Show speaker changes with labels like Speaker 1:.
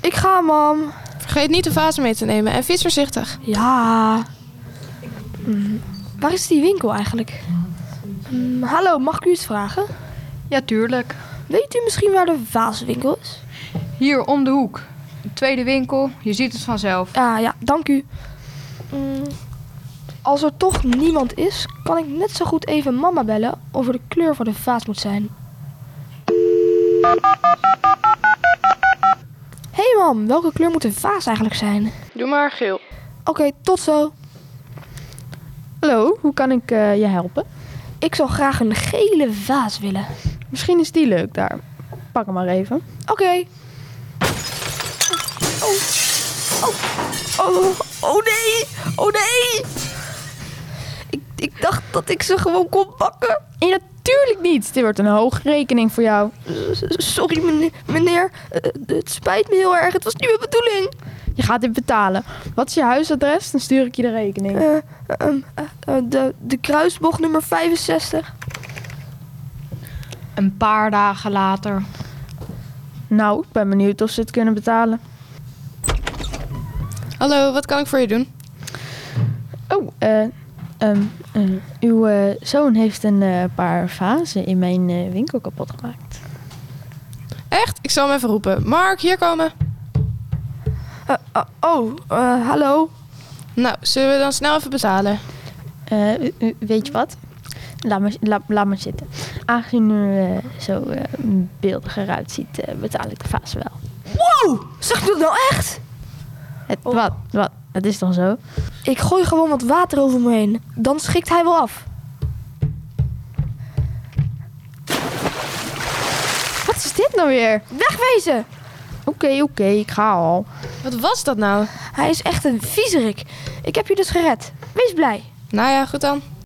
Speaker 1: Ik ga, mam.
Speaker 2: Vergeet niet de vaas mee te nemen en fiets voorzichtig.
Speaker 1: Ja. Mm, Waar is die winkel eigenlijk? Mm, hallo, mag ik u iets vragen?
Speaker 3: Ja, tuurlijk.
Speaker 1: Weet u misschien waar de vaaswinkel is?
Speaker 3: Hier om de hoek. De tweede winkel, je ziet het vanzelf.
Speaker 1: Ah ja, dank u. Mm, Als er toch niemand is, kan ik net zo goed even mama bellen over de kleur van de vaas moet zijn. Hé hey mam, welke kleur moet een vaas eigenlijk zijn? Oké,
Speaker 2: Doe maar geel.
Speaker 1: tot zo.
Speaker 4: Hallo, hoe kan ik eh, je helpen?
Speaker 1: Ik zou graag een gele vaas willen.
Speaker 4: Misschien is die leuk daar. Pak hem maar even.
Speaker 1: Oké. Oh. Oh. oh, oh nee, oh nee. Ik, ik dacht dat ik ze gewoon kon pakken.
Speaker 4: En natuurlijk niet. Dit wordt een hoge rekening voor jou.
Speaker 1: S- Sorry meneer, meneer. Eh, het spijt me heel erg, het was niet mijn bedoeling.
Speaker 4: Je gaat dit betalen. Wat is je huisadres? Dan stuur ik je de rekening.
Speaker 1: Eh, ehm, eh, eh, de, de kruisbocht nummer 65.
Speaker 3: Een paar dagen later.
Speaker 4: Nou, ik ben benieuwd of ze het kunnen betalen.
Speaker 2: Hallo, wat kan ik voor je doen?
Speaker 4: Oh, eh, ehm, eh, uw eh, zoon heeft een eh, paar vazen in mijn eh, winkel kapot gemaakt.
Speaker 2: Echt? Ik zal hem even roepen. Mark, hier komen.
Speaker 1: Eh, eh, oh, eh, hallo.
Speaker 2: Nou, zullen we dan snel even betalen?
Speaker 4: Eh, u- u- weet je wat? Laat maar, la- laat maar zitten. Aangezien u eh, zo eh, beeldig eruit ziet, eh, betaal ik de vaas wel.
Speaker 1: Wow, zeg je dat nou echt?
Speaker 4: Het,
Speaker 1: Oh.
Speaker 4: Wat? Wat? Dat is dan zo?
Speaker 1: Ik gooi gewoon wat water over me heen. Dan schikt hij wel af.
Speaker 4: Wat is dit nou weer?
Speaker 1: Wegwezen!
Speaker 4: Oké, oké, ik ga al.
Speaker 2: Wat was dat nou?
Speaker 1: Hij is echt een viezerik. Ik heb je dus gered. Wees blij.
Speaker 2: Nou ja, goed dan.